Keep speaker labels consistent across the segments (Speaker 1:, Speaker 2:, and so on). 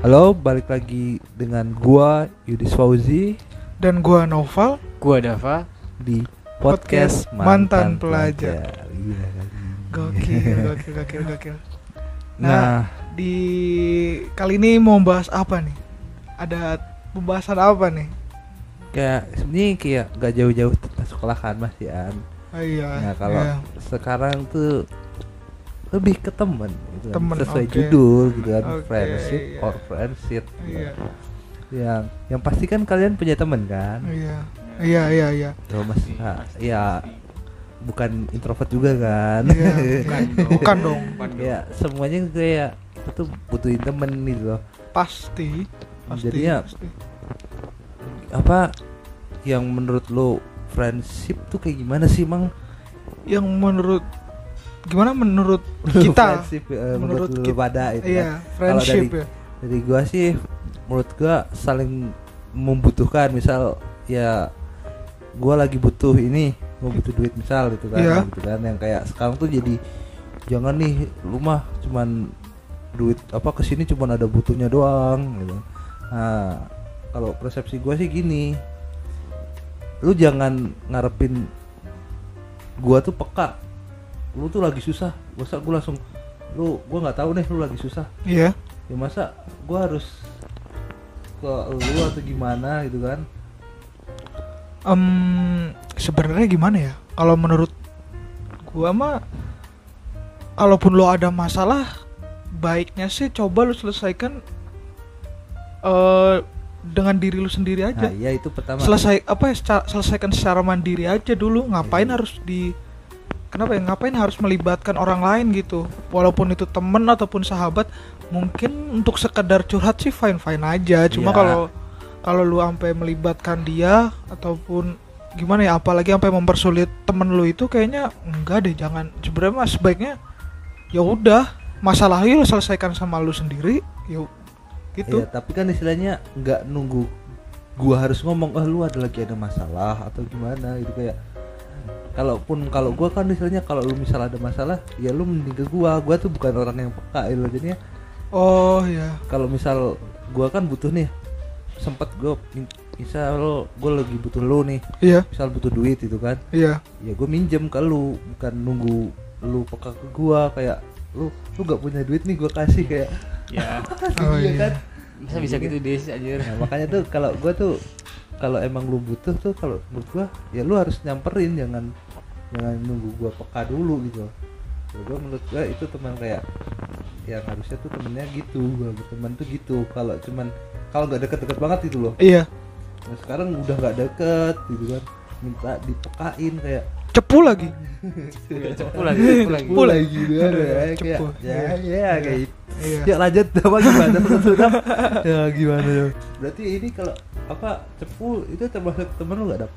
Speaker 1: Halo, balik lagi dengan gua Yudis Fauzi
Speaker 2: dan gua Noval
Speaker 3: Gua Dava.
Speaker 1: di podcast,
Speaker 2: Podcast Mantan Pelajar.
Speaker 1: Gila kan?
Speaker 2: gokil gokil gokil gokil
Speaker 1: Nah,
Speaker 2: di kali ini mau bahas apa nih ada pembahasan apa nih
Speaker 1: kayak sebenarnya kayak gak jauh-jauh tentang sekolah kan Mas Ian.
Speaker 2: oh, iya
Speaker 1: Nah, kalau
Speaker 2: iya.
Speaker 1: sekarang tuh lebih ke temen gitu kan.
Speaker 2: Temen,
Speaker 1: sesuai
Speaker 2: oke.
Speaker 1: judul gitu kan
Speaker 2: Oke,
Speaker 1: friendship
Speaker 2: iya.
Speaker 1: or friendship
Speaker 2: iya
Speaker 1: yang yang pasti kan kalian punya temen kan
Speaker 2: iya iya iya iya
Speaker 1: Tuh, Mas nah, ya bukan introvert juga kan
Speaker 2: Iya, bukan. bukan dong Iya.
Speaker 1: ya semuanya kayak itu butuhin temen gitu loh
Speaker 2: pasti pasti
Speaker 1: Jadinya-
Speaker 2: pasti.
Speaker 1: apa yang menurut lo friendship tuh kayak gimana sih mang
Speaker 2: yang menurut gimana menurut kita
Speaker 1: friendship eh,
Speaker 2: menurut
Speaker 1: menurut, lo
Speaker 2: kita-
Speaker 1: pada itu kan.
Speaker 2: iya friendship ya
Speaker 1: dari gua sih menurut gua saling membutuhkan misal ya gua lagi butuh ini gua butuh duit misal gitu kan
Speaker 2: Iya.
Speaker 1: gitu kan yang kayak sekarang tuh jadi jangan nih lu mah cuman duit apa kesini cuman ada butuhnya doang gitu nah kalau persepsi gua sih gini lu jangan ngarepin gua tuh peka lu tuh lagi susah masa gua langsung lu gua nggak tahu nih lu lagi susah
Speaker 2: iya
Speaker 1: ya masa gue harus ke lu atau gimana gitu kan
Speaker 2: Em, sebenarnya gimana ya kalau menurut gua mah kalaupun lo ada masalah baiknya sih coba lo selesaikan eh dengan diri lo sendiri
Speaker 1: nah
Speaker 2: aja
Speaker 1: iya itu pertama
Speaker 2: selesai apa ya secara- selesaikan secara mandiri aja dulu ngapain
Speaker 1: Iya.
Speaker 2: harus di kenapa ya ngapain harus melibatkan orang lain gitu walaupun itu temen ataupun sahabat mungkin untuk sekedar curhat sih fine fine aja
Speaker 1: Iya.
Speaker 2: cuma kalau kalau lu sampai melibatkan dia ataupun gimana ya apalagi sampai mempersulit temen lu itu kayaknya enggak deh jangan sebenarnya mas sebaiknya ya udah masalahnya lu selesaikan sama lu sendiri yuk gitu
Speaker 1: Iya, tapi kan istilahnya nggak nunggu gua harus ngomong ah lu ada lagi ada masalah atau gimana gitu kayak kalaupun kalau gua kan istilahnya kalau lu misal ada masalah ya lu mending ke gua gua tuh bukan orang yang peka gitu loh. jadinya
Speaker 2: oh ya
Speaker 1: kalau misal gua kan butuh nih sempet gua misal lo gua lagi butuh lu nih
Speaker 2: iya
Speaker 1: misal butuh duit gitu kan
Speaker 2: iya
Speaker 1: ya gue minjem ke lu bukan nunggu lu peka ke gua kayak lu lu gak punya duit nih gua kasih kayak
Speaker 3: Ya.
Speaker 2: Oh,
Speaker 1: Iya
Speaker 2: iya.
Speaker 1: kan
Speaker 3: Masa bisa gitu Des anjir.
Speaker 1: Nah, makanya tuh kalau gua tuh kalau emang lu butuh tuh kalau menurut gua ya lu harus nyamperin jangan jangan nunggu gua peka dulu gitu Kalau gua menurut gua itu teman kayak yang harusnya tuh temennya gitu gua berteman tuh gitu kalau cuman kalau nggak deket-deket banget gitu loh
Speaker 2: iya
Speaker 1: nah, sekarang udah nggak deket gitu kan minta dipekain kayak
Speaker 2: cepu lagi
Speaker 3: Cepu lagi, cepu lagi.
Speaker 2: Cepu lagi.
Speaker 1: gitu kan
Speaker 2: Aduh,
Speaker 1: ya, kayak
Speaker 2: cepu.
Speaker 1: ya
Speaker 2: Iya.
Speaker 1: ya kayak gitu.
Speaker 2: Iya.
Speaker 1: ya lanjut apa gimana tuh Dam? ya gimana tuh berarti ini kalau apa cepu itu termasuk temen lu gak dap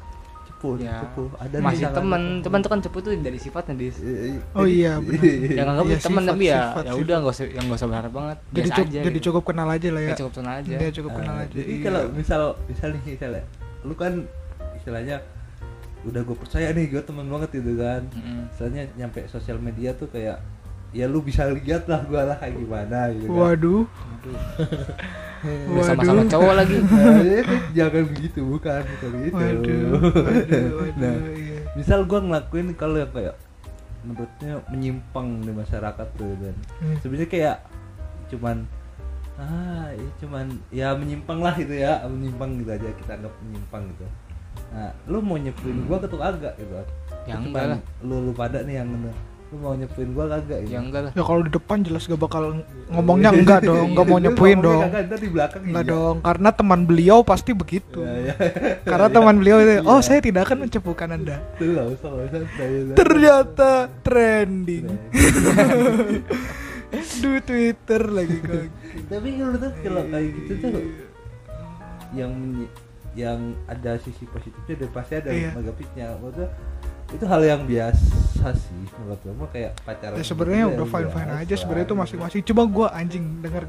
Speaker 1: cepu
Speaker 3: Ya.
Speaker 1: cepu ada
Speaker 3: Masih
Speaker 1: misalkan-
Speaker 3: temen, teman tuh kan cepu tuh dari sifatnya Des.
Speaker 1: Eh,
Speaker 2: Oh
Speaker 1: jadi-
Speaker 2: iya, benar.
Speaker 3: Yang anggap
Speaker 2: Iya,
Speaker 3: teman
Speaker 2: sifat,
Speaker 3: tapi ya
Speaker 2: sifat,
Speaker 3: ya
Speaker 2: sifat.
Speaker 3: udah enggak usah yang enggak usah berharap banget.
Speaker 2: jadi
Speaker 3: Biasa
Speaker 2: cukup
Speaker 3: aja.
Speaker 2: jadi
Speaker 3: gitu.
Speaker 2: cukup kenal aja lah ya
Speaker 3: Ya, cukup tenang aja.
Speaker 2: dia cukup kenal
Speaker 1: Ah,
Speaker 2: aja
Speaker 1: jadi
Speaker 2: Iya.
Speaker 1: kalau misal misal nih misalnya lu kan istilahnya udah gue percaya nih gue temen banget gitu kan
Speaker 3: Mm-mm.
Speaker 1: misalnya nyampe sosial media tuh kayak ya lu bisa lihat lah gue lah kayak gimana gitu kan.
Speaker 2: waduh
Speaker 3: Aduh.
Speaker 2: waduh
Speaker 3: Udah sama-sama cowok lagi.
Speaker 1: Nah, ya kan jangan begitu bukan bukan gitu
Speaker 2: waduh waduh, waduh,
Speaker 1: Nah.
Speaker 2: iya.
Speaker 1: misal gua ngelakuin kalau yang kayak menurutnya menyimpang di masyarakat tuh dan
Speaker 2: Hmm.
Speaker 1: sebenarnya kayak cuman ah ya cuman ya menyimpang lah gitu ya menyimpang gitu aja kita anggap menyimpang gitu nah lu mau nyepuin gua ketuk agak gitu
Speaker 3: Ya
Speaker 1: Cuman
Speaker 3: enggak lah.
Speaker 1: lu lu pada nih yang ngene, lu mau nyepuin gua kagak gitu
Speaker 3: Ya enggak lah.
Speaker 2: ya kalau di depan jelas gak bakal ngomongnya enggak dong nggak mau nyepuin
Speaker 1: Ngomongnya
Speaker 2: dong
Speaker 1: kagak, ntar di belakang
Speaker 2: enggak
Speaker 1: iya.
Speaker 2: dong karena teman beliau pasti begitu
Speaker 1: Ya, ya.
Speaker 2: karena teman beliau itu oh
Speaker 1: Iya.
Speaker 2: saya tidak akan mencepukan anda
Speaker 1: Tuh, nggak usah, nggak usah, nggak
Speaker 2: Iya.
Speaker 1: usah.
Speaker 2: ternyata trending di twitter lagi kok Iya.
Speaker 1: tapi kalau tuh kalau kayak gitu tuh yang menyi- yang ada sisi positifnya dan pasti ada
Speaker 2: Iya.
Speaker 1: negatifnya maksudnya itu hal yang biasa sih menurut gue mah kayak pacaran
Speaker 2: ya sebenarnya
Speaker 1: gitu ya
Speaker 2: udah fine fine
Speaker 1: biasa.
Speaker 2: aja sebenarnya itu masing-masing cuma gue anjing denger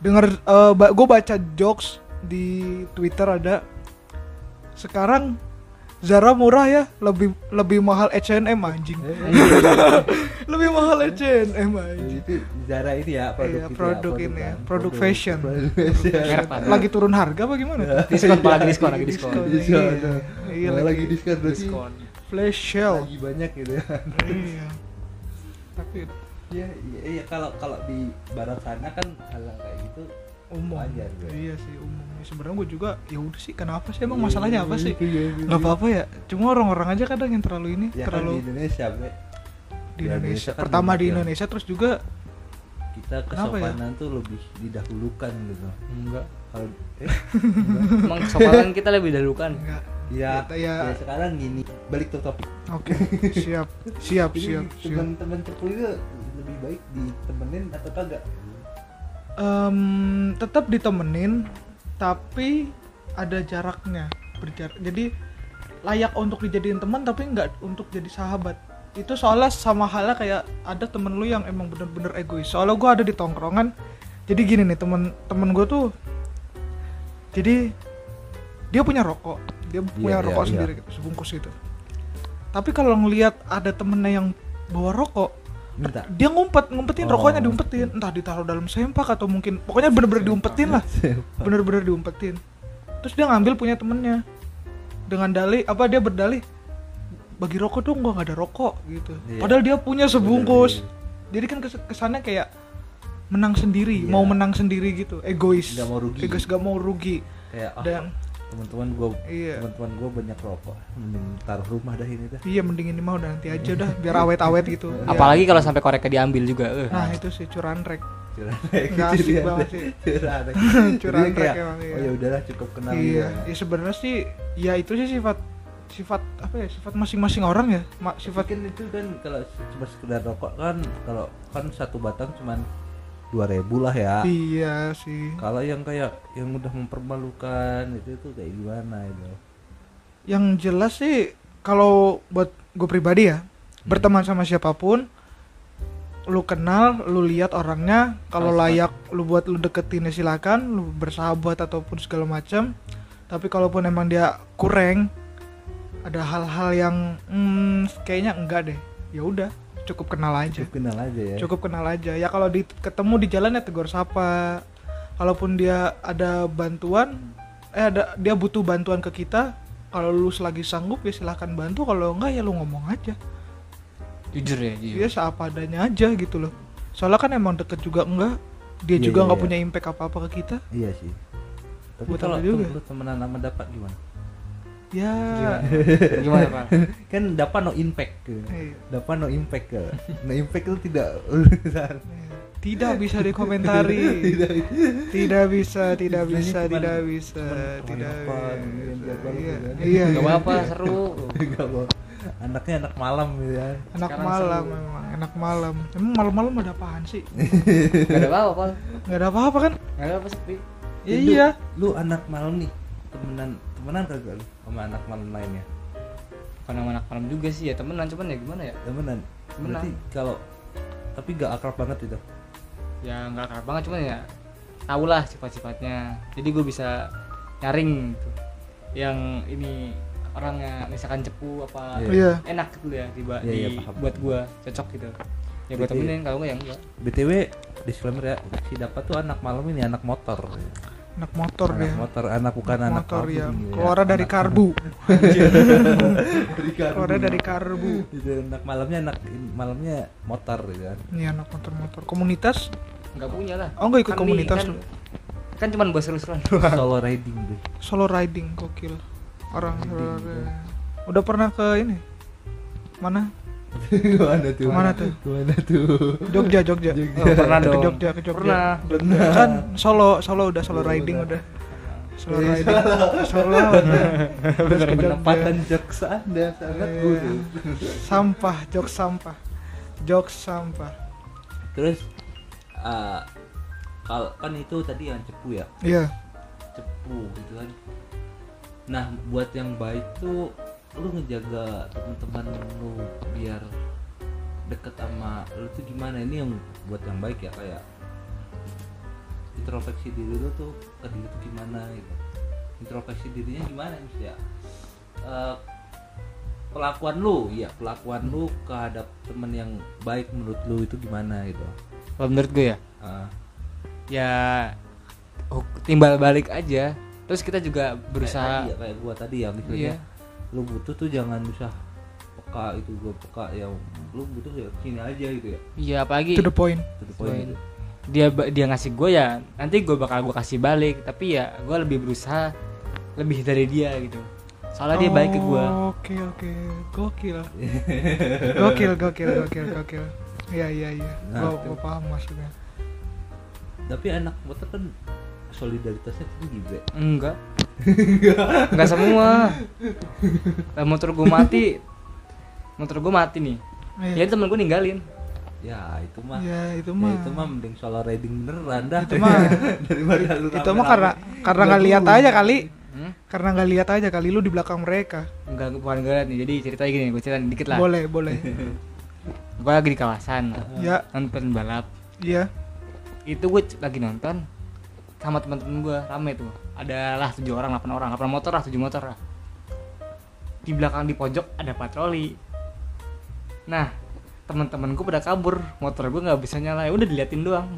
Speaker 2: denger eh, ba- gue baca jokes di twitter ada sekarang Zara murah ya, lebih lebih mahal H&M
Speaker 1: Eh,
Speaker 2: anjing. lebih mahal
Speaker 1: Jadi
Speaker 2: H&M anjing.
Speaker 1: itu Zara ini ya produk
Speaker 2: Iya,
Speaker 1: itu ya,
Speaker 2: produk ini ya,
Speaker 1: kan.
Speaker 2: produk fashion.
Speaker 1: produk fashion.
Speaker 3: Merek apa?
Speaker 2: Lagi turun harga apa
Speaker 1: Iya.
Speaker 2: gimana?
Speaker 3: Diskon, Pak, lagi diskon, lagi diskon.
Speaker 2: Diskon,
Speaker 1: Diskon,
Speaker 2: iya. Iya,
Speaker 1: Malah lagi
Speaker 2: lagi
Speaker 1: diskon berarti
Speaker 3: diskon
Speaker 2: Flash sale.
Speaker 1: lagi banyak gitu ya
Speaker 2: Iya. Tapi
Speaker 1: Iya, iya, iya kalau kalau di barat sana kan hal yang kayak gitu
Speaker 2: umum.
Speaker 1: Wajar gue.
Speaker 2: Iya sih umum. Ya, Sebenarnya gue juga ya udah sih kenapa sih emang masalahnya apa sih?
Speaker 1: Iya, iya, iya.
Speaker 2: Gak apa-apa ya. Cuma orang-orang aja kadang yang terlalu ini,
Speaker 1: Ya kan di
Speaker 2: terlalu
Speaker 1: Indonesia, Bre.
Speaker 2: di Indonesia.
Speaker 1: kan
Speaker 2: Pertama di
Speaker 1: banyak ya.
Speaker 2: Indonesia terus juga
Speaker 1: Kita
Speaker 2: Kenapa ya?
Speaker 1: kesopanan tuh lebih didahulukan gitu.
Speaker 3: enggak
Speaker 1: Kalau eh,
Speaker 3: emang kesopanan kita lebih dahulukan
Speaker 2: enggak.
Speaker 1: ya,
Speaker 2: Ya, ya.
Speaker 1: ya sekarang gini, balik ke topik.
Speaker 2: Oke, siap. Siap,
Speaker 1: Jadi
Speaker 2: siap, siap.
Speaker 1: Teman-teman cepul itu lebih baik ditemenin atau kagak?
Speaker 2: Em, tetap ditemenin tapi ada jaraknya berjarak jadi layak untuk dijadiin teman tapi nggak untuk jadi sahabat itu soalnya sama halnya kayak ada temen lu yang emang bener-bener egois soalnya gue ada di tongkrongan jadi gini nih temen temen gue tuh jadi dia punya rokok dia punya
Speaker 1: iya,
Speaker 2: rokok
Speaker 1: iya.
Speaker 2: sendiri gitu, sebungkus gitu tapi kalau ngelihat ada temennya yang bawa rokok
Speaker 1: Minta.
Speaker 2: Nah, dia ngumpet ngumpetin
Speaker 1: Oh.
Speaker 2: rokoknya diumpetin entah ditaruh dalam sempak atau mungkin pokoknya bener-bener diumpetin
Speaker 1: ya.
Speaker 2: lah bener-bener diumpetin terus dia ngambil punya temennya dengan dalih apa dia berdalih bagi rokok dong gua nggak ada rokok gitu
Speaker 1: Iya.
Speaker 2: padahal dia punya sebungkus jadi kan kes- kesannya kayak menang sendiri
Speaker 1: Iya.
Speaker 2: mau menang sendiri gitu egois
Speaker 1: Nggak mau rugi.
Speaker 2: egois gak mau rugi
Speaker 1: Kayak ah,
Speaker 2: dan
Speaker 1: teman-teman gue
Speaker 2: Iya.
Speaker 1: teman-teman gue banyak rokok mending taruh rumah dah ini dah
Speaker 2: iya mending ini mau udah nanti aja
Speaker 1: Iya.
Speaker 2: dah biar awet-awet gitu Biar-
Speaker 3: apalagi kalau sampai koreknya diambil juga eh.
Speaker 2: nah itu sih curanrek
Speaker 1: curhat Gitu
Speaker 2: Nggak asik banget sih.
Speaker 1: curhat
Speaker 2: Curhat
Speaker 1: kayak
Speaker 2: emang, iya.
Speaker 1: oh ya udahlah cukup kenal
Speaker 2: iya
Speaker 1: gitu.
Speaker 2: ya sebenarnya sih ya itu sih sifat sifat apa ya sifat masing-masing orang ya Ma-
Speaker 1: sifat
Speaker 2: sifat
Speaker 1: kan itu kan kalau cuma sekedar rokok kan kalau kan satu batang cuman dua ribu lah ya
Speaker 2: iya sih
Speaker 1: kalau yang kayak yang udah mempermalukan itu tuh kayak gimana itu
Speaker 2: yang jelas sih kalau buat gue pribadi ya berteman sama siapapun lu kenal lu lihat orangnya kalau
Speaker 3: Harus
Speaker 2: layak lu buat lu deketin ya silakan lu bersahabat ataupun segala macam tapi kalaupun emang dia kurang ada hal-hal yang hmm, kayaknya enggak deh ya udah cukup kenal aja
Speaker 1: cukup kenal aja ya
Speaker 2: cukup kenal aja ya kalau di, ketemu di jalan ya tegur sapa kalaupun dia ada bantuan eh ada dia butuh bantuan ke kita kalau lu lagi sanggup ya silahkan bantu kalau enggak ya lu ngomong aja
Speaker 3: jujur ya jujur
Speaker 1: Iya.
Speaker 2: dia seapa adanya aja gitu loh soalnya kan emang deket juga enggak dia
Speaker 1: Iya,
Speaker 2: juga
Speaker 1: iya,
Speaker 2: nggak
Speaker 1: iya.
Speaker 2: punya impact apa apa ke kita
Speaker 1: iya sih tapi
Speaker 2: Betul
Speaker 1: kalau
Speaker 2: juga.
Speaker 1: lu temenan sama dapat gimana
Speaker 2: ya
Speaker 3: gimana pak
Speaker 1: kan dapat no impact gitu.
Speaker 2: Iya.
Speaker 1: dapat no impact ya. no impact itu tidak
Speaker 2: tidak bisa dikomentari
Speaker 1: tidak
Speaker 2: tidak bisa tidak
Speaker 1: Istilahnya
Speaker 2: bisa
Speaker 1: cuman-
Speaker 2: tidak bisa
Speaker 1: cuman
Speaker 2: tidak
Speaker 1: teman-teman, yang
Speaker 2: bisa
Speaker 1: jadwal
Speaker 2: Iya,
Speaker 1: gitu kan.
Speaker 2: iya
Speaker 3: nggak
Speaker 2: iya.
Speaker 3: apa-apa seru
Speaker 1: Enggak mau. Anaknya anak malam gitu ya.
Speaker 2: Enak
Speaker 3: Sekarang
Speaker 2: malam
Speaker 3: seru.
Speaker 2: memang, enak malam. Emang malam-malam ada apaan sih?
Speaker 3: nggak ada apa-apa pak
Speaker 2: Nggak ada apa-apa kan?
Speaker 3: nggak ada apa sepi
Speaker 1: Eh, lu-
Speaker 2: iya.
Speaker 1: Lu anak malam nih. Temenan temenan kagak lu sama anak malam lainnya?
Speaker 3: karena anak malam juga sih ya temenan cuman ya gimana ya
Speaker 1: Temenan. Berarti kalau tapi gak akrab banget itu.
Speaker 3: ya nggak akrab banget cuman ya tau lah sifat-sifatnya jadi gue bisa nyaring gitu yang ini orangnya misalkan cepu apa
Speaker 1: Iya.
Speaker 2: Iya.
Speaker 3: enak gitu ya di, ba-
Speaker 1: Iya, iya,
Speaker 3: di-
Speaker 1: paham.
Speaker 3: buat gue cocok gitu ya
Speaker 2: Iya,
Speaker 3: gue
Speaker 1: Berarti-
Speaker 3: temenin kalau nggak ya enggak
Speaker 1: BTW disclaimer ya, si dapat tuh anak malam ini anak motor.
Speaker 2: Anak motor
Speaker 1: anak
Speaker 2: dia.
Speaker 1: motor, anak bukan
Speaker 2: Anak
Speaker 1: anak
Speaker 2: motor
Speaker 1: kampung
Speaker 2: ya.
Speaker 1: gitu
Speaker 2: Keluar dari
Speaker 1: Anak-
Speaker 2: karbu.
Speaker 1: dari karbu.
Speaker 2: Keluar dari karbu.
Speaker 1: Gitu, anak malamnya anak malamnya motor gitu kan.
Speaker 2: Nih anak motor-motor komunitas.
Speaker 3: nggak punya lah
Speaker 2: Oh, nggak ikut
Speaker 3: nih,
Speaker 2: komunitas
Speaker 3: kan,
Speaker 2: lu.
Speaker 3: kan cuman buat seru-seruan
Speaker 1: Solo riding tuh.
Speaker 2: Solo riding gokil. Orang
Speaker 1: Riding,
Speaker 2: solo- udah pernah ke ini? Mana?
Speaker 1: Mana tuh?
Speaker 2: Kemana tuh? Iya.
Speaker 1: Mana tuh?
Speaker 2: Jogja, Jogja.
Speaker 3: Oh, pernah
Speaker 2: Ke
Speaker 3: dong
Speaker 2: Jogja, ke Jogja.
Speaker 3: pernah
Speaker 2: Kan Solo, Solo udah Solo
Speaker 1: Iya,
Speaker 2: riding
Speaker 1: udah.
Speaker 2: udah. Solo riding. Solo. udah. Terus ke Jogja.
Speaker 1: penempatan jokes anda sangat
Speaker 2: Iya.
Speaker 1: buruk
Speaker 2: sampah jok sampah jok sampah
Speaker 1: terus eh, kalau kan itu tadi yang cepu ya
Speaker 2: iya
Speaker 1: cepu gitu kan nah buat yang baik tuh lu ngejaga teman-teman lu biar deket sama lu tuh gimana ini yang buat yang baik ya kayak introspeksi diri lu tuh ke diri tuh gimana gitu introspeksi dirinya gimana Miss, ya Eh, kelakuan lu ya kelakuan lu kehadap temen yang baik menurut lu itu gimana gitu
Speaker 3: kalau menurut gue ya
Speaker 1: Ah,
Speaker 3: ya huk- timbal balik aja terus kita juga
Speaker 1: kayak tadi
Speaker 2: Iya,
Speaker 3: berusaha
Speaker 1: ya, kayak gua tadi ya misalnya
Speaker 3: Iya.
Speaker 1: lu butuh tuh jangan usah peka itu gua peka ya lu butuh ya sini aja gitu ya
Speaker 3: iya apalagi
Speaker 2: to the point
Speaker 1: to the point gitu.
Speaker 3: dia ba- dia ngasih gue ya nanti gue bakal gue kasih balik tapi ya gue lebih berusaha lebih dari dia gitu soalnya dia baik ke gue
Speaker 2: Oh, oke oke gokil gokil gokil gokil gokil iya iya iya
Speaker 1: Nah,
Speaker 2: gua,
Speaker 1: itu.
Speaker 2: gua paham maksudnya
Speaker 1: tapi anak motor kan solidaritasnya kan gitu ya. tinggi bre
Speaker 2: Oh.
Speaker 3: enggak enggak semua Lah, motor gue mati motor gue mati nih
Speaker 2: iya
Speaker 3: jadi temen gue ninggalin
Speaker 1: ya itu mah ya,
Speaker 2: ya itu mah
Speaker 1: itu mah mending solo riding beneran dah
Speaker 2: Itu mah-
Speaker 1: daripada lu
Speaker 2: itu mah
Speaker 1: rame-rame.
Speaker 2: karena karena nggak lihat
Speaker 1: Nggak
Speaker 2: aja
Speaker 1: dulu.
Speaker 2: kali
Speaker 3: hmm?
Speaker 2: karena nggak lihat aja kali lu di belakang mereka
Speaker 3: enggak bukan gue nih jadi ceritanya gini gue ceritain dikit lah
Speaker 2: boleh boleh
Speaker 3: gue lagi di kawasan
Speaker 2: ya
Speaker 3: nonton balap
Speaker 2: iya
Speaker 3: itu gue c- lagi nonton sama teman-teman gue rame tuh ada lah tujuh orang delapan orang delapan motor lah tujuh motor lah di belakang di pojok ada patroli nah teman-teman gue pada kabur motor gue nggak bisa nyala ya udah diliatin doang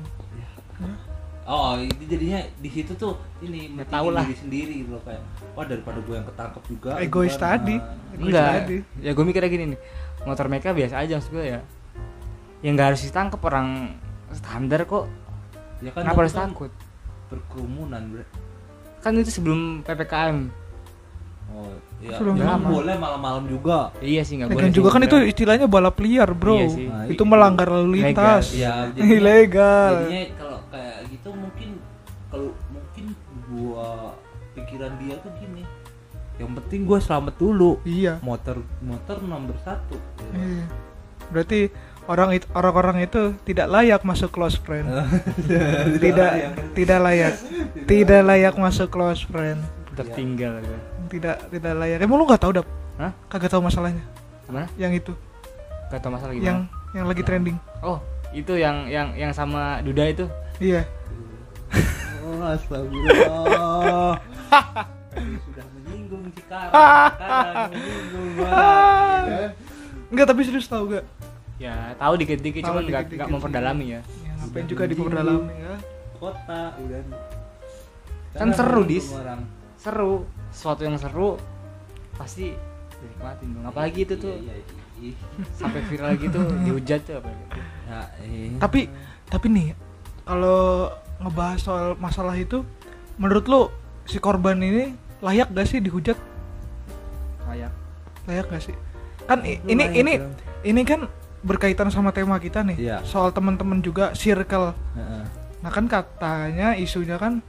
Speaker 1: Oh, itu jadinya di situ tuh ini
Speaker 3: Ya,
Speaker 1: mentingin
Speaker 3: tau lah.
Speaker 1: diri sendiri gitu loh, kayak. Wah, daripada gue yang ketangkep juga. gitu kan." Nah,
Speaker 2: egois
Speaker 1: gimana?
Speaker 2: tadi Egois
Speaker 3: enggak
Speaker 2: tadi.
Speaker 3: ya gue mikirnya gini nih motor mereka biasa aja maksud gue ya yang nggak harus ditangkep orang standar kok
Speaker 1: Ya kan
Speaker 3: kenapa
Speaker 1: tapi
Speaker 3: harus
Speaker 1: kan
Speaker 3: takut
Speaker 1: Berkerumunan, Bre.
Speaker 3: kan itu sebelum ppkm
Speaker 1: Oh, iya.
Speaker 2: Belum
Speaker 1: Jangan
Speaker 3: lama.
Speaker 1: boleh malam-malam juga.
Speaker 3: iya sih nggak boleh
Speaker 2: Lagian
Speaker 3: sih
Speaker 2: juga kan itu
Speaker 3: sebenarnya.
Speaker 2: istilahnya balap liar bro
Speaker 3: Iya sih.
Speaker 1: Nah,
Speaker 2: itu
Speaker 1: i-
Speaker 2: melanggar lalu lintas
Speaker 1: Iya, jadinya-
Speaker 2: ilegal
Speaker 1: Jadinya kalau kayak gitu mungkin kalau mungkin gua pikiran dia tuh gini. Yang penting gua selamat dulu.
Speaker 2: iya
Speaker 1: Motor motor nomor satu. Iya.
Speaker 2: Iya. berarti orang itu orang-orang itu tidak layak masuk close friend Eh, tidak
Speaker 1: Iya.
Speaker 2: tidak layak tidak layak masuk close friend
Speaker 3: tertinggal gue
Speaker 2: tidak tidak layak emang lu nggak tahu dap
Speaker 3: Hah?
Speaker 2: kagak tahu masalahnya
Speaker 3: gimana
Speaker 2: yang itu
Speaker 3: gak tau masalah gimana
Speaker 2: yang yang lagi trending
Speaker 3: Oh, itu yang yang yang sama Duda itu.
Speaker 2: iya
Speaker 1: Oh, astagfirullah. Ini sudah menyinggung Cikarang. Sekarang menyinggung Iya. mana?
Speaker 2: Enggak tapi serius tahu gak
Speaker 3: Ya, tahu dikit-dikit
Speaker 2: Tahu
Speaker 3: cuman nggak
Speaker 2: dikit-dikit
Speaker 3: nggak memperdalami ya.
Speaker 2: ya, ngapain juga di dalam ya
Speaker 1: Kota udah.
Speaker 3: Kan seru, Dis.
Speaker 1: Orang.
Speaker 3: Seru, sesuatu yang seru pasti dinikmatin dong. Apalagi itu tuh
Speaker 1: Iya, iya, iya.
Speaker 3: sampai viral gitu dihujat tuh apa gitu.
Speaker 1: Ya, eh.
Speaker 2: tapi tapi nih kalau ngebahas soal masalah itu menurut lu si korban ini layak gak sih dihujat
Speaker 3: Kayak
Speaker 2: layak gak sih kan i-
Speaker 1: Lu
Speaker 2: ini
Speaker 1: layak
Speaker 2: ini
Speaker 1: dong.
Speaker 2: ini kan berkaitan sama tema kita nih
Speaker 1: Iya.
Speaker 2: soal teman-teman juga circle
Speaker 1: Heeh.
Speaker 2: nah kan katanya isunya kan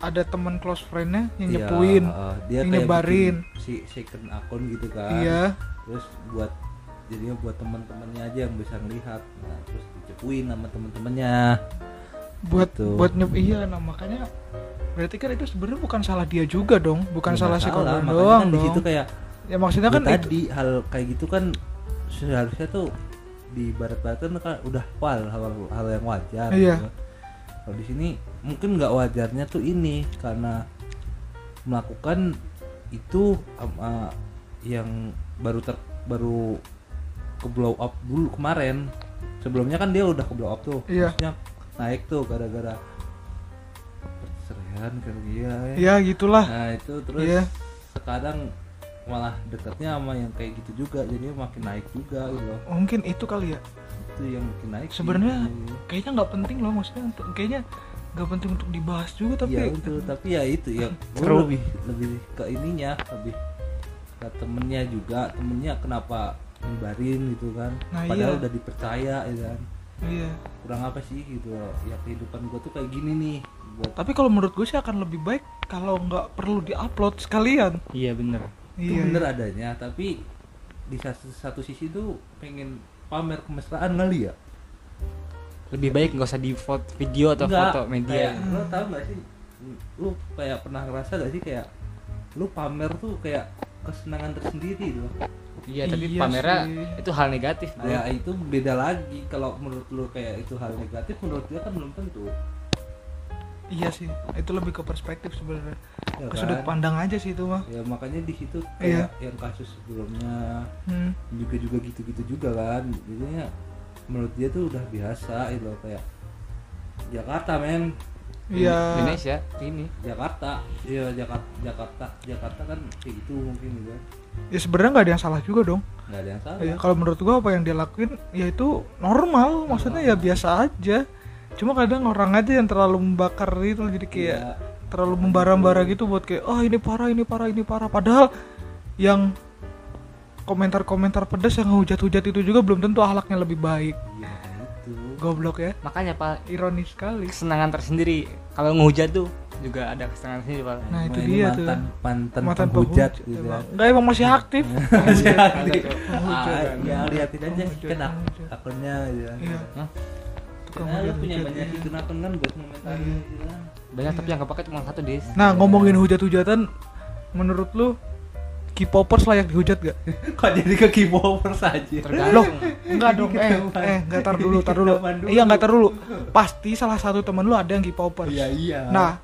Speaker 2: ada teman close friendnya yang
Speaker 1: Iya,
Speaker 2: nyepuin
Speaker 1: heeh. dia
Speaker 2: yang
Speaker 1: kayak
Speaker 2: nyebarin.
Speaker 1: bikin si second akun gitu kan.
Speaker 2: iya
Speaker 1: Terus buat jadinya buat teman-temannya aja yang bisa ngelihat. Nah, terus dicepuin sama teman-temannya.
Speaker 2: buat
Speaker 1: Gitu.
Speaker 2: buat nyep iya nah makanya berarti kan itu sebenarnya bukan salah dia juga dong bukan
Speaker 1: Iya, Nggak
Speaker 2: salah si korban
Speaker 1: makanya
Speaker 2: doang
Speaker 1: kan di
Speaker 2: dong
Speaker 1: situ kayak
Speaker 2: ya maksudnya kan
Speaker 1: Ya
Speaker 2: itu
Speaker 1: tadi hal kayak gitu kan seharusnya tuh di barat-baratan kan udah hal hal, hal yang wajar
Speaker 2: Iya.
Speaker 1: gitu. kalau di sini mungkin nggak wajarnya tuh ini karena melakukan itu sama yang baru ter baru ke blow up dulu kemarin sebelumnya kan dia udah ke blow up tuh
Speaker 2: Iya.
Speaker 1: maksudnya naik tuh gara-gara perceraian kali ya
Speaker 2: ya gitulah
Speaker 1: Nah itu terus
Speaker 2: Iya.
Speaker 1: sekarang malah dekatnya sama yang kayak gitu juga jadi makin naik juga gitu loh.
Speaker 2: mungkin itu kali ya
Speaker 1: itu yang makin naik sih.
Speaker 2: sebenarnya kayaknya nggak penting loh maksudnya untuk kayaknya nggak penting untuk dibahas juga tapi
Speaker 1: Iya, betul. tapi ya itu ya gua
Speaker 3: Seru.
Speaker 1: lebih lebih ke ininya lebih ke temennya juga temennya kenapa nyebarin gitu kan
Speaker 2: Nah,
Speaker 1: padahal
Speaker 2: iya.
Speaker 1: udah dipercaya ya kan
Speaker 2: iya
Speaker 1: kurang apa sih gitu loh. ya kehidupan gue tuh kayak gini nih buat
Speaker 2: tapi kalau menurut gue sih akan lebih baik kalau nggak perlu diupload sekalian
Speaker 3: iya bener
Speaker 1: itu
Speaker 2: iya
Speaker 1: bener adanya tapi di satu, satu sisi tuh pengen pamer kemesraan kali ya
Speaker 3: Lebih baik nggak usah di foto video atau
Speaker 1: Enggak,
Speaker 3: foto
Speaker 1: kayak,
Speaker 3: media.
Speaker 1: lo tau gak sih lu kayak pernah ngerasa gak sih kayak lu pamer tuh kayak kesenangan tersendiri loh
Speaker 3: Iya, tapi
Speaker 2: Iya
Speaker 3: pamernya
Speaker 2: sih.
Speaker 3: itu hal negatif, Bro.
Speaker 1: kayak itu beda lagi kalau menurut lu kayak itu hal negatif menurut dia kan belum tentu
Speaker 2: iya sih itu lebih ke perspektif sebenarnya
Speaker 1: Ya
Speaker 2: ke sudut
Speaker 1: kan?
Speaker 2: pandang aja sih itu mah
Speaker 1: ya makanya di situ kayak
Speaker 2: Iya.
Speaker 1: yang kasus sebelumnya
Speaker 2: hmm.
Speaker 1: juga juga gitu-gitu juga kan jadinya menurut dia tuh udah biasa gitu loh, kayak Jakarta men
Speaker 2: iya
Speaker 3: Indonesia ini
Speaker 1: Jakarta iya Jakarta Jakarta Jakarta kan kayak gitu mungkin juga
Speaker 2: ya sebenarnya nggak ada yang salah juga dong
Speaker 1: nggak ada yang salah
Speaker 2: Ya, kalau menurut gua apa yang dia lakuin ya itu normal maksudnya ya biasa aja cuma kadang orang aja yang terlalu membakar itu jadi kayak
Speaker 1: Iya.
Speaker 2: terlalu membara-bara gitu buat kayak oh ini parah ini parah ini parah padahal yang komentar-komentar pedas yang hujat-hujat itu juga belum tentu ahlaknya lebih baik
Speaker 1: iya itu
Speaker 2: goblok ya
Speaker 3: makanya pak
Speaker 2: ironis sekali
Speaker 3: kesenangan tersendiri kalau ngehujat tuh juga ada kesenangan sendiri pak
Speaker 2: Nah, itu
Speaker 1: Ini
Speaker 2: dia tuh.
Speaker 1: mantan, mantan
Speaker 2: Mantan
Speaker 1: penghujat
Speaker 2: penghujat,
Speaker 1: gitu
Speaker 2: emang. Nggak, emang masih aktif
Speaker 1: Penghujat.
Speaker 2: Penghujat.
Speaker 1: Ah, ya liatin aja
Speaker 2: Penghujat,
Speaker 1: kena
Speaker 2: penghujat.
Speaker 1: akunnya ya
Speaker 2: Iya.
Speaker 3: Hah?
Speaker 2: Tukang
Speaker 1: Nah, lu punya
Speaker 2: hujat-hujat,
Speaker 1: banyak
Speaker 2: iya.
Speaker 1: kena kenan buat komentarin
Speaker 2: Iya.
Speaker 1: gitu kan.
Speaker 3: banyak tapi yang kepake cuma satu dis
Speaker 2: nah ngomongin hujat-hujatan menurut lu K-popers layak dihujat gak?
Speaker 1: Kok jadi ke K-popers aja?
Speaker 2: Loh,
Speaker 3: tergantung
Speaker 2: enggak dong. Eh,
Speaker 1: ketahuan.
Speaker 2: eh, enggak tar dulu, tar dulu.
Speaker 1: Ketahuan dulu.
Speaker 2: Iya, enggak tar dulu. Pasti salah satu temen lu ada yang K-popers.
Speaker 1: Iya iya.
Speaker 2: Nah,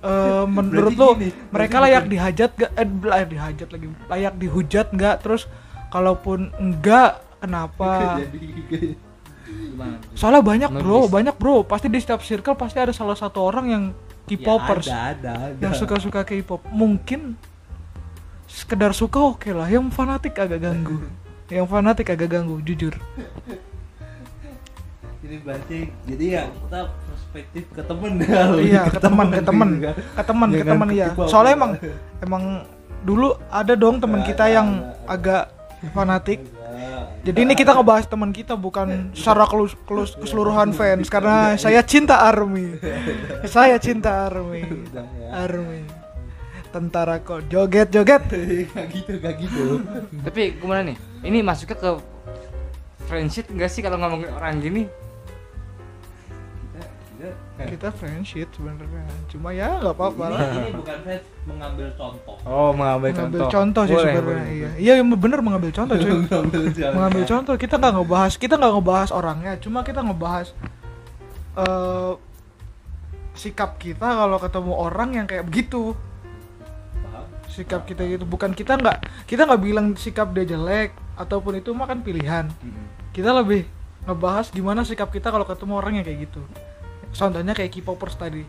Speaker 2: eh, menurut
Speaker 1: Berarti
Speaker 2: lu
Speaker 1: gini,
Speaker 2: mereka
Speaker 1: berarti
Speaker 2: layak
Speaker 1: gini.
Speaker 2: dihajat gak? Eh, layak dihajat lagi. Layak dihujat nggak? Terus kalaupun enggak, kenapa?
Speaker 1: Jadi-
Speaker 3: gimana
Speaker 2: Soalnya banyak, Bro.
Speaker 3: Menulis.
Speaker 2: Banyak, Bro. Pasti di setiap circle pasti ada salah satu orang yang K-popers.
Speaker 1: Ya, ada, ada, ada.
Speaker 2: yang suka-suka K-pop. Mungkin sekedar suka oke lah, yang fanatik agak ganggu. yang fanatik agak ganggu, jujur.
Speaker 1: Jadi berarti jadi ya kita perspektif ke temen dah.
Speaker 2: iya ke teman ke teman
Speaker 1: gitu kan.
Speaker 2: ke teman ke
Speaker 1: Jangan
Speaker 2: teman ya
Speaker 1: ketipu apa-apa.
Speaker 2: soalnya emang emang dulu ada dong teman
Speaker 1: Ada,
Speaker 2: kita yang
Speaker 1: ada, ada.
Speaker 2: agak fanatik
Speaker 1: Enggak.
Speaker 2: jadi ini kita ngebahas teman kita bukan secara kelus, kelus-
Speaker 1: Iya,
Speaker 2: keseluruhan fans karena saya cinta army saya cinta army
Speaker 1: Udah, ya.
Speaker 2: army tentara kok joget joget
Speaker 1: Gak gitu, gak gitu.
Speaker 3: Mhm. tapi gimana nih ini masuknya ke friendship enggak sih kalau ngomongin orang gini
Speaker 1: Kita, kita,
Speaker 2: kita friendship sebenarnya cuma ya nggak apa-apa
Speaker 1: ini,
Speaker 2: lah
Speaker 1: ini bukan saya mengambil contoh.
Speaker 3: oh mengambil
Speaker 2: mengambil contoh sih sebenarnya iya iya bener mengambil contoh cuy
Speaker 1: mengambil contoh.
Speaker 2: mengambil contoh kita nggak ngebahas kita nggak ngebahas orangnya cuma kita ngebahas eh sikap kita kalau ketemu orang yang kayak begitu
Speaker 1: Paham?
Speaker 2: sikap kita gitu bukan kita nggak kita nggak bilang sikap dia jelek ataupun itu mah kan pilihan
Speaker 1: Mm-mm.
Speaker 2: kita lebih ngebahas gimana sikap kita kalau ketemu orang yang kayak gitu contohnya kayak K-popers tadi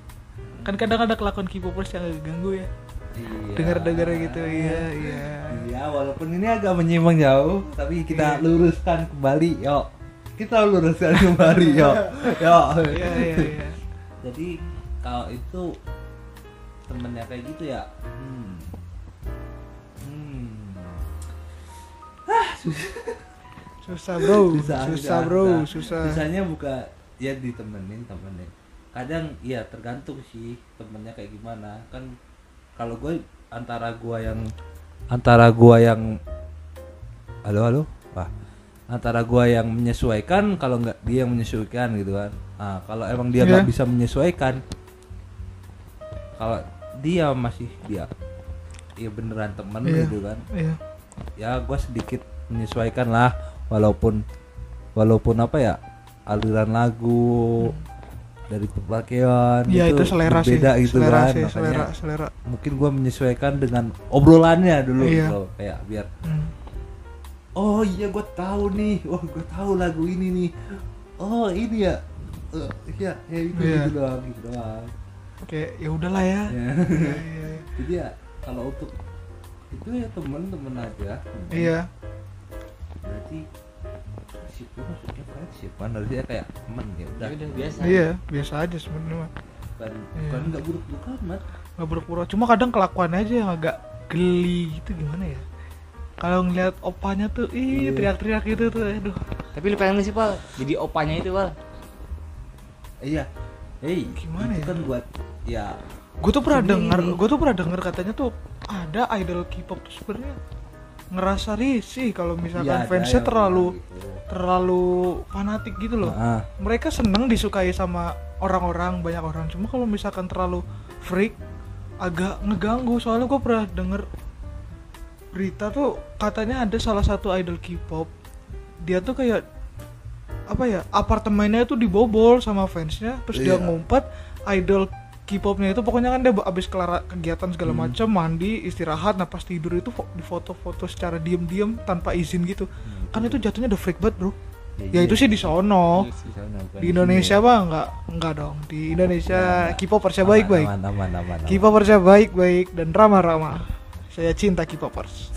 Speaker 2: kan kadang ada kelakuan K-popers yang agak ganggu ya
Speaker 1: Iya.
Speaker 2: dengar-dengar gitu iya iya
Speaker 1: Iya, walaupun ini agak menyimpang jauh, tapi kita
Speaker 2: Iya.
Speaker 1: luruskan kembali, yuk. Kita luruskan kembali, yuk. Yuk.
Speaker 2: iya iya iya
Speaker 1: Jadi kalau itu temennya kayak gitu ya. Hmm. Hmm.
Speaker 2: susah bro susah,
Speaker 1: susah,
Speaker 2: bro
Speaker 1: susah.
Speaker 2: susah,
Speaker 1: Susahnya buka ya ditemenin temennya. Kadang ya tergantung sih temennya kayak gimana. Kan kalau gue antara gua yang antara gua yang halo halo Wah. antara gua yang menyesuaikan kalau nggak dia yang menyesuaikan gitu kan nah, kalau emang dia nggak
Speaker 2: Iya.
Speaker 1: bisa menyesuaikan kalau dia masih dia ya beneran temen
Speaker 2: Iya.
Speaker 1: gitu kan
Speaker 2: iya
Speaker 1: ya gua sedikit menyesuaikan lah walaupun walaupun apa ya aliran lagu dari pemakaian
Speaker 2: Iya itu selera sih.
Speaker 1: beda gitu
Speaker 2: selera
Speaker 1: kan
Speaker 2: sih,
Speaker 1: makanya
Speaker 2: selera, selera.
Speaker 1: mungkin gua menyesuaikan dengan obrolannya dulu
Speaker 2: Iya.
Speaker 1: gitu. kayak biar
Speaker 2: Hmm.
Speaker 1: oh iya gua tahu nih wah gua tahu lagu ini nih oh ini ya Eh, iya ya itu
Speaker 2: Iya.
Speaker 1: gitu doang gitu doang
Speaker 2: Oke, ya udahlah ya.
Speaker 1: Ya.
Speaker 2: Iya, iya, iya.
Speaker 1: jadi ya kalau untuk itu ya temen-temen aja temen.
Speaker 2: Iya.
Speaker 1: berarti friendship gue maksudnya friendship kan harusnya kayak temen ya udah
Speaker 3: ya udah biasa
Speaker 2: Iya, biasa aja sebenarnya. mah.
Speaker 1: bukan
Speaker 2: Iya.
Speaker 1: bukan nggak buruk buruk amat
Speaker 2: Nggak berpura. Cuma kadang kelakuan aja yang agak geli gitu gimana ya? Kalau ngeliat opanya tuh, ih
Speaker 1: Iya.
Speaker 2: teriak-teriak gitu tuh, aduh.
Speaker 3: tapi lu pengen nggak sih pak jadi opanya itu pak
Speaker 1: iya hei
Speaker 2: Gimana
Speaker 1: itu
Speaker 2: ya?
Speaker 1: kan buat ya
Speaker 2: Gue tuh pernah
Speaker 1: Jadi
Speaker 2: dengar,
Speaker 1: ini-
Speaker 2: gue tuh pernah dengar katanya tuh ada idol K-pop tuh sebenarnya ngerasa risih kalau
Speaker 1: ya
Speaker 2: misalkan
Speaker 1: ada yang
Speaker 2: fansnya terlalu
Speaker 1: gitu.
Speaker 2: terlalu fanatik gitu loh.
Speaker 1: Ah,
Speaker 2: mereka seneng disukai sama orang-orang banyak orang cuma kalau misalkan terlalu freak agak ngeganggu soalnya gue pernah denger berita tuh katanya ada salah satu idol K-pop dia tuh kayak apa ya apartemennya tuh dibobol sama fansnya terus dia
Speaker 1: Iya.
Speaker 2: ngumpet idol K-popnya itu pokoknya kan dia abis kelar kegiatan segala macam mandi istirahat napas tidur itu fo- difoto-foto secara diem-diem tanpa izin gitu kan itu jatuhnya udah freak banget bro ya itu sih di sono
Speaker 3: Iya sih.
Speaker 2: di Indonesia mah nggak nggak dong di Indonesia K-popersnya baik-baik
Speaker 1: Aman, aman, aman. aman.
Speaker 2: K-popersnya baik-baik dan ramah-ramah saya cinta K-popers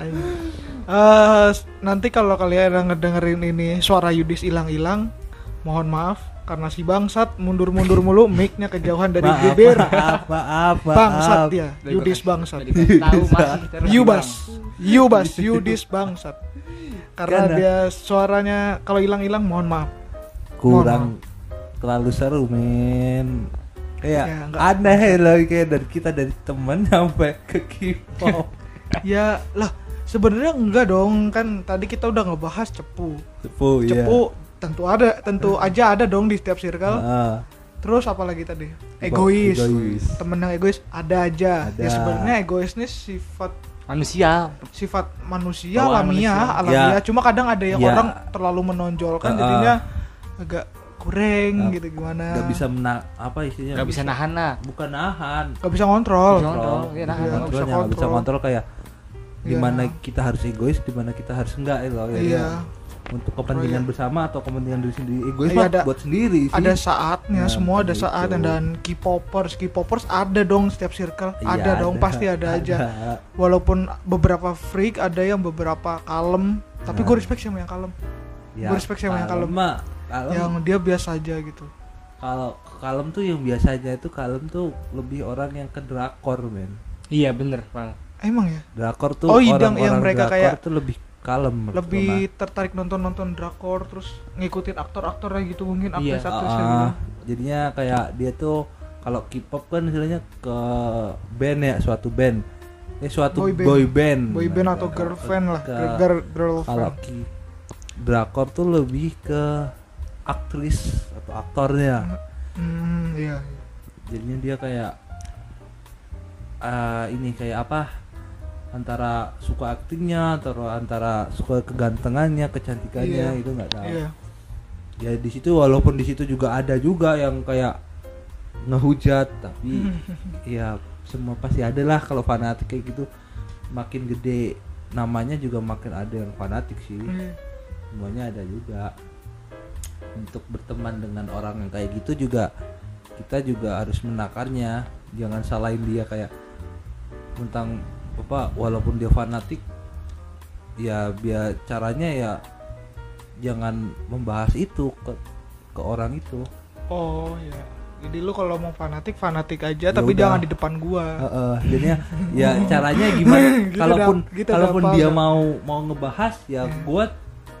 Speaker 2: Eh, nanti kalau kalian yang ngedengerin ini suara Yudis hilang-hilang mohon maaf karena si bangsat mundur-mundur mulu mic-nya kejauhan dari
Speaker 1: Maaf,
Speaker 2: bibir
Speaker 1: maaf, maaf, maaf.
Speaker 2: bangsat dia
Speaker 3: Dari
Speaker 2: Yudis
Speaker 3: gua-
Speaker 2: bangsat
Speaker 3: dari gua tahu masih terus
Speaker 2: Yubas, Yubas, Yudis bangsat. Karena
Speaker 1: Karena-
Speaker 2: dia suaranya kalau hilang-hilang mohon maaf.
Speaker 1: kurang terlalu seru men kayak
Speaker 2: Ya, nggak-
Speaker 1: aneh loh kayak dari kita dari temen sampai ke K-pop
Speaker 2: Ya lah sebenarnya enggak dong kan tadi kita udah ngebahas cepu.
Speaker 1: cepu ya
Speaker 2: Cepu tentu ada, tentu
Speaker 1: Hmm.
Speaker 2: aja ada dong di setiap circle.
Speaker 1: Heeh.
Speaker 2: Terus apalagi tadi? Egois.
Speaker 1: Ah. Egois.
Speaker 2: Temen yang egois ada aja.
Speaker 1: Ada.
Speaker 2: Ya sebenarnya egois ini sifat
Speaker 3: bilang. manusia
Speaker 2: sifat manusia
Speaker 3: Bawaan
Speaker 2: alamiah
Speaker 3: manusia.
Speaker 2: alamiah
Speaker 1: Ya.
Speaker 2: cuma kadang ada yang
Speaker 1: Ya.
Speaker 2: orang terlalu
Speaker 1: Ah,
Speaker 2: menonjolkan
Speaker 1: ah.
Speaker 2: jadinya agak kurang
Speaker 1: Ah,
Speaker 2: gitu gimana
Speaker 1: nggak bisa mena apa istilahnya
Speaker 3: nggak bisa nahan nah
Speaker 1: bukan nahan
Speaker 2: nggak bisa ngontrol
Speaker 3: Nggak bisa Kontrol, iya,
Speaker 1: Iya,
Speaker 2: nggak
Speaker 3: nahan,
Speaker 2: bisa
Speaker 1: kontrolnya, nggak bisa
Speaker 2: kontrol.
Speaker 1: kontrol kayak
Speaker 2: Iya.
Speaker 1: dimana kita harus egois dimana kita harus enggak eh, loh ya,
Speaker 2: Iya.
Speaker 1: ya. untuk kepentingan
Speaker 2: Iya.
Speaker 1: bersama atau kepentingan diri sendiri egois
Speaker 2: Iya,
Speaker 1: mah
Speaker 2: ada-
Speaker 1: buat sendiri sih
Speaker 2: ada saatnya
Speaker 1: Nah,
Speaker 2: semua ada
Speaker 1: gitu.
Speaker 2: saatnya dan K-popers K-popers ada dong setiap circle
Speaker 1: Iya,
Speaker 2: ada dong pasti ada, aja walaupun beberapa freak ada yang beberapa kalem tapi
Speaker 1: Nah.
Speaker 2: gue respect sama yang kalem Gua respect sama yang
Speaker 1: Iya. kalem
Speaker 2: kalem.
Speaker 1: mah, kalem
Speaker 2: yang dia biasa aja gitu
Speaker 1: kalau kalem tuh yang biasanya itu kalem tuh lebih orang yang ke drakor men
Speaker 3: iya bener Pak.
Speaker 2: emang ya
Speaker 1: drakor tuh
Speaker 2: Oh, iya,
Speaker 1: orang-orang
Speaker 2: yang mereka
Speaker 1: drakor
Speaker 2: kayak
Speaker 1: tuh lebih kalem menurut gua,
Speaker 2: lebih tertarik nonton nonton drakor terus ngikutin aktor-aktornya gitu mungkin
Speaker 3: Iya,
Speaker 1: nah.
Speaker 2: aktris-aktrisnya
Speaker 1: Ah,
Speaker 2: gitu
Speaker 1: jadinya kayak dia tuh kalau K-pop kan istilahnya ke band ya suatu band eh suatu
Speaker 2: Boy
Speaker 1: boy band,
Speaker 2: band. boy band
Speaker 1: Nah,
Speaker 2: atau
Speaker 1: kalau
Speaker 2: girlfriend lah
Speaker 1: ke-
Speaker 2: girl, girl,
Speaker 1: kalau
Speaker 2: girlfriend
Speaker 1: ki drakor tuh lebih ke aktris atau aktornya
Speaker 2: hmm iya iya.
Speaker 1: jadinya dia kayak eh ini kayak apa antara suka aktingnya atau antara suka kegantengannya kecantikannya
Speaker 2: Iya.
Speaker 1: itu nggak tahu
Speaker 2: iya
Speaker 1: ya di situ walaupun di situ juga ada juga yang kayak ngehujat tapi ya semua pasti ada lah kalau fanatik kayak gitu makin gede namanya juga makin ada yang fanatik sih
Speaker 2: Iya.
Speaker 1: semuanya ada juga untuk berteman dengan orang yang kayak gitu juga kita juga harus menakarnya jangan salahin dia kayak tentang apa walaupun dia fanatik ya biar caranya ya jangan membahas itu ke ke orang itu
Speaker 2: Oh ya. Jadi lu kalau mau fanatik fanatik
Speaker 1: Ya
Speaker 2: aja
Speaker 1: udah.
Speaker 2: tapi
Speaker 1: Ah.
Speaker 2: jangan di depan gua.
Speaker 1: Heeh, jadinya ya caranya gimana
Speaker 2: Gitu
Speaker 1: kalaupun
Speaker 2: dah, gitu dah,
Speaker 1: kalaupun
Speaker 2: paham
Speaker 1: dia
Speaker 2: dah.
Speaker 1: mau mau ngebahas ya
Speaker 2: Hmm.
Speaker 1: buat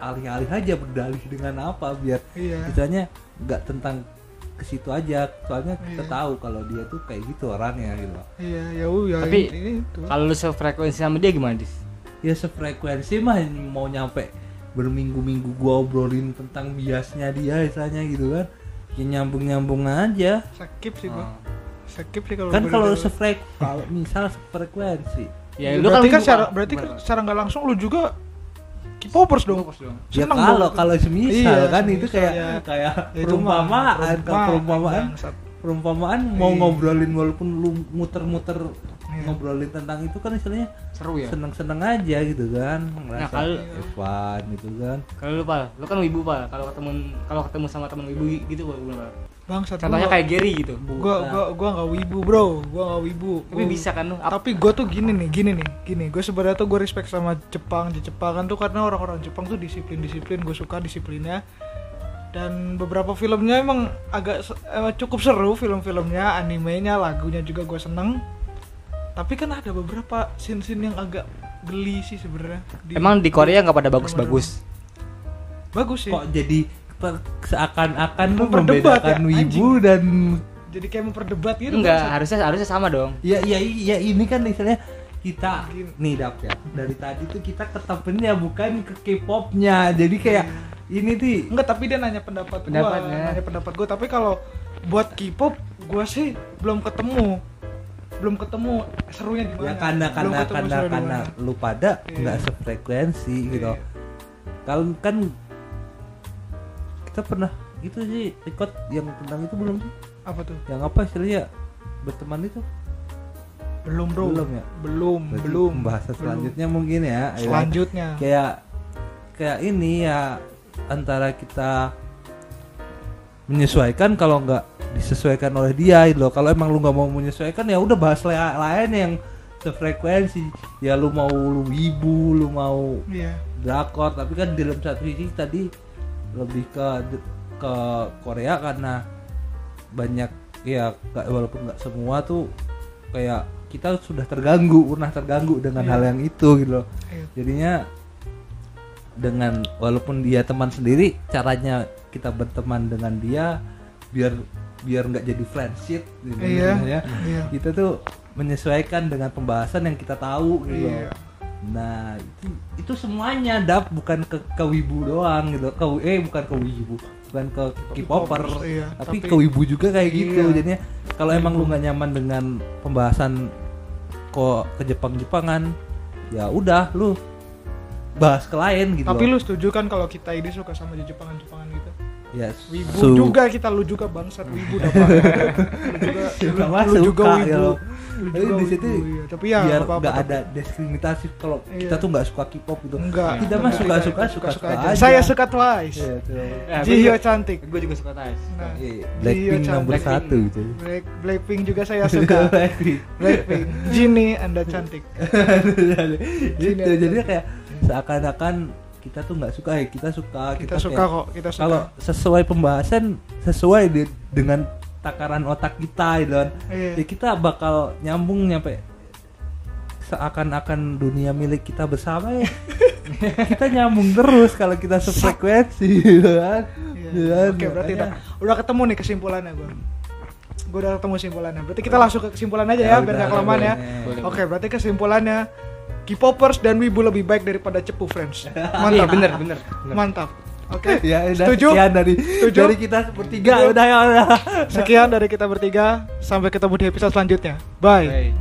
Speaker 1: alih-alih aja berdalih dengan apa biar
Speaker 2: Iya.
Speaker 1: misalnya nggak tentang ke situ aja soalnya kita
Speaker 2: Iya.
Speaker 1: tahu kalau dia tuh kayak gitu orangnya gitu loh.
Speaker 2: Iya, ya udah
Speaker 3: Tapi-
Speaker 2: ini itu.
Speaker 3: kalau lu sefrekuensi sama dia gimana dis
Speaker 1: ya sefrekuensi mah mau nyampe berminggu-minggu gua obrolin tentang biasnya dia misalnya gitu kan ya nyambung-nyambung aja
Speaker 2: Skip sih gua.
Speaker 3: Oh.
Speaker 2: Skip sih kalau
Speaker 1: kan
Speaker 2: gua
Speaker 1: kalau
Speaker 2: dari-
Speaker 1: sefrek kalau misal sefrekuensi
Speaker 3: ya
Speaker 2: berarti
Speaker 3: lu
Speaker 2: kan
Speaker 3: bukan-
Speaker 2: secara berarti kan
Speaker 3: bukan-
Speaker 2: secara nggak langsung lu juga K-popers dong.
Speaker 3: K-popers dong.
Speaker 1: Ya
Speaker 2: Seneng
Speaker 1: kalau
Speaker 2: dong.
Speaker 1: kalau
Speaker 2: Iya,
Speaker 1: semisal kan itu
Speaker 2: semisal,
Speaker 1: kayak
Speaker 2: ya.
Speaker 1: kayak
Speaker 2: Ya, itu mah,
Speaker 1: perumpamaan kalau perumpamaan
Speaker 2: bangsat.
Speaker 1: perumpamaan mau
Speaker 2: Iya.
Speaker 1: ngobrolin walaupun lu muter-muter
Speaker 2: Iya.
Speaker 1: ngobrolin tentang itu kan istilahnya
Speaker 3: seru ya
Speaker 1: seneng-seneng aja gitu kan
Speaker 2: Nah,
Speaker 1: ngerasa
Speaker 3: kalau-
Speaker 1: eh, fun gitu kan
Speaker 3: kalau lu pal lu kan wibu pal kalau ketemu kalau ketemu sama temen wibu gitu gua gimana Pal?
Speaker 2: Bangsat.
Speaker 3: contohnya
Speaker 2: gua-
Speaker 3: kayak Gary gitu
Speaker 2: gua
Speaker 1: Nah,
Speaker 2: gua gua nggak wibu, Bro. Gua nggak wibu.
Speaker 3: tapi
Speaker 2: Gua-
Speaker 3: bisa kan lu Ap-
Speaker 2: tapi gue tuh gini nih gini nih gini gue sebenarnya tuh gue respect sama Jepang di Jepang kan tuh karena orang-orang Jepang tuh disiplin disiplin gue suka disiplinnya dan beberapa filmnya emang agak se- eh, cukup seru film-filmnya animenya lagunya juga gue seneng tapi kan ada beberapa scene-scene yang agak geli sih sebenarnya Di-
Speaker 3: emang di Korea nggak pada bagus-bagus
Speaker 2: bagus sih
Speaker 1: kok jadi per- seakan-akan lu
Speaker 2: Memperdebat ya,
Speaker 1: membedakan wibu dan
Speaker 2: jadi kayak memperdebat gitu
Speaker 3: enggak
Speaker 2: maksud-
Speaker 3: harusnya harusnya sama dong
Speaker 1: ya ya ya ini kan istilahnya kita
Speaker 2: Gini.
Speaker 1: nih dap ya dari tadi tuh kita ketepennya bukan ke K-popnya jadi kayak
Speaker 2: Iya.
Speaker 1: ini tuh
Speaker 2: Enggak, tapi dia nanya pendapat gue.
Speaker 3: Pendapatnya.
Speaker 2: Nanya pendapat gue, tapi kalau buat K-pop gue sih belum ketemu. Belum ketemu serunya gimana.
Speaker 1: ya karena
Speaker 2: Belum
Speaker 1: karena
Speaker 2: ketemu
Speaker 1: karena
Speaker 2: serunya
Speaker 1: karena
Speaker 2: gimana.
Speaker 1: lu pada
Speaker 2: Iya.
Speaker 1: nggak sefrekuensi gitu
Speaker 2: Iya.
Speaker 1: kalau kan kita pernah itu sih record yang tentang itu belum sih
Speaker 2: apa tuh
Speaker 1: yang apa istilahnya berteman itu
Speaker 2: belum bro
Speaker 1: belum ya
Speaker 2: belum
Speaker 1: Berarti
Speaker 2: belum
Speaker 1: pembahasan
Speaker 2: Belum.
Speaker 1: selanjutnya mungkin ya ya.
Speaker 2: selanjutnya
Speaker 1: kayak kayak ini ya antara kita menyesuaikan kalau nggak disesuaikan oleh dia gitu loh kalau emang lu nggak mau menyesuaikan ya udah bahas la- lain yang sefrekuensi ya lu mau lu ibu lu mau
Speaker 2: iya
Speaker 1: drakor tapi kan di dalam satu sisi tadi lebih ke ke Korea karena banyak ya nggak- walaupun nggak semua tuh kayak kita sudah terganggu pernah terganggu dengan
Speaker 2: Iya.
Speaker 1: hal yang itu gitu loh
Speaker 2: Iya.
Speaker 1: jadinya dengan walaupun dia teman sendiri caranya kita berteman dengan dia biar biar nggak jadi friendship gitu
Speaker 2: Iya.
Speaker 1: ya.
Speaker 2: Iya.
Speaker 1: kita tuh menyesuaikan dengan pembahasan yang kita tahu gitu loh.
Speaker 2: Iya.
Speaker 1: nah itu itu semuanya dap bukan ke ke wibu doang gitu ke eh bukan ke wibu bukan ke K-popper
Speaker 2: Iya,
Speaker 1: tapi,
Speaker 2: tapi-
Speaker 1: ke wibu juga kayak gitu
Speaker 2: Iya.
Speaker 1: jadinya kalau emang lu nggak nyaman dengan pembahasan kok ke Jepang-Jepangan ya udah lu bahas ke lain gitu
Speaker 2: tapi
Speaker 1: loh.
Speaker 2: lu setuju kan kalau kita ini suka sama jepangan jepangan gitu
Speaker 1: ya
Speaker 2: wibu
Speaker 1: su-
Speaker 2: juga kita lu juga bangsat wibu dapat lu juga
Speaker 1: juga
Speaker 2: lu
Speaker 1: masuk
Speaker 2: juga
Speaker 1: Kak, ya
Speaker 2: wibu
Speaker 1: lo.
Speaker 2: Lu
Speaker 1: Tapi
Speaker 2: juga
Speaker 1: di
Speaker 2: wibu,
Speaker 1: situ
Speaker 2: iya. tapi ya
Speaker 1: biar
Speaker 2: apa-apa,
Speaker 1: nggak
Speaker 2: tapi-
Speaker 1: ada diskriminasi kalau
Speaker 2: Iya.
Speaker 1: kita tuh nggak suka K-pop gitu
Speaker 2: enggak
Speaker 1: kita mah
Speaker 2: enggak,
Speaker 1: suka
Speaker 2: enggak,
Speaker 1: suka suka suka aja
Speaker 2: saya suka twice
Speaker 1: Iya, tuh.
Speaker 3: Eh, gua
Speaker 2: Jihyo
Speaker 3: juga-
Speaker 2: cantik
Speaker 3: gue juga suka Thais
Speaker 2: Nah,
Speaker 1: Iya,
Speaker 2: Iya,
Speaker 1: Blackpink
Speaker 2: Chan.
Speaker 1: nomor
Speaker 3: Blackpink.
Speaker 1: satu itu
Speaker 2: Black, Blackpink juga saya suka
Speaker 1: Blackpink.
Speaker 2: Blackpink Jinny anda cantik
Speaker 1: Gitu,
Speaker 2: Iya.
Speaker 1: jadi kayak seakan-akan kita tuh nggak suka ya kita suka
Speaker 2: kita
Speaker 1: kayak-
Speaker 2: suka kok kita suka
Speaker 1: kalau sesuai pembahasan sesuai de- dengan takaran otak kita gitu kan.
Speaker 2: Iya.
Speaker 1: ya kita bakal nyambung nyampe seakan-akan dunia milik kita bersama ya kita nyambung terus kalau kita sefrekuensi gitu kan
Speaker 2: Iya.
Speaker 1: Gitu kan,
Speaker 2: Oke, berarti udah,
Speaker 1: makanya-
Speaker 2: udah ketemu nih kesimpulannya gue. Gue udah ketemu kesimpulannya. Berarti kita langsung ke kesimpulan aja ya,
Speaker 1: Ya
Speaker 2: biar
Speaker 1: udah,
Speaker 2: gak kelamaan ya.
Speaker 3: boleh.
Speaker 2: Oke, berarti kesimpulannya K-popers dan wibu lebih baik daripada cepu friends.
Speaker 3: iya
Speaker 2: Mantap,
Speaker 3: bener bener, bener.
Speaker 2: Mantap. Oke.
Speaker 1: ya udah
Speaker 2: Setuju?
Speaker 1: sekian dari
Speaker 2: Setuju?
Speaker 1: dari kita sepertiga
Speaker 2: Setuju?
Speaker 1: udah ya udah
Speaker 2: Sekian dari kita bertiga. Sampai ketemu di episode selanjutnya. Bye.
Speaker 3: Baik.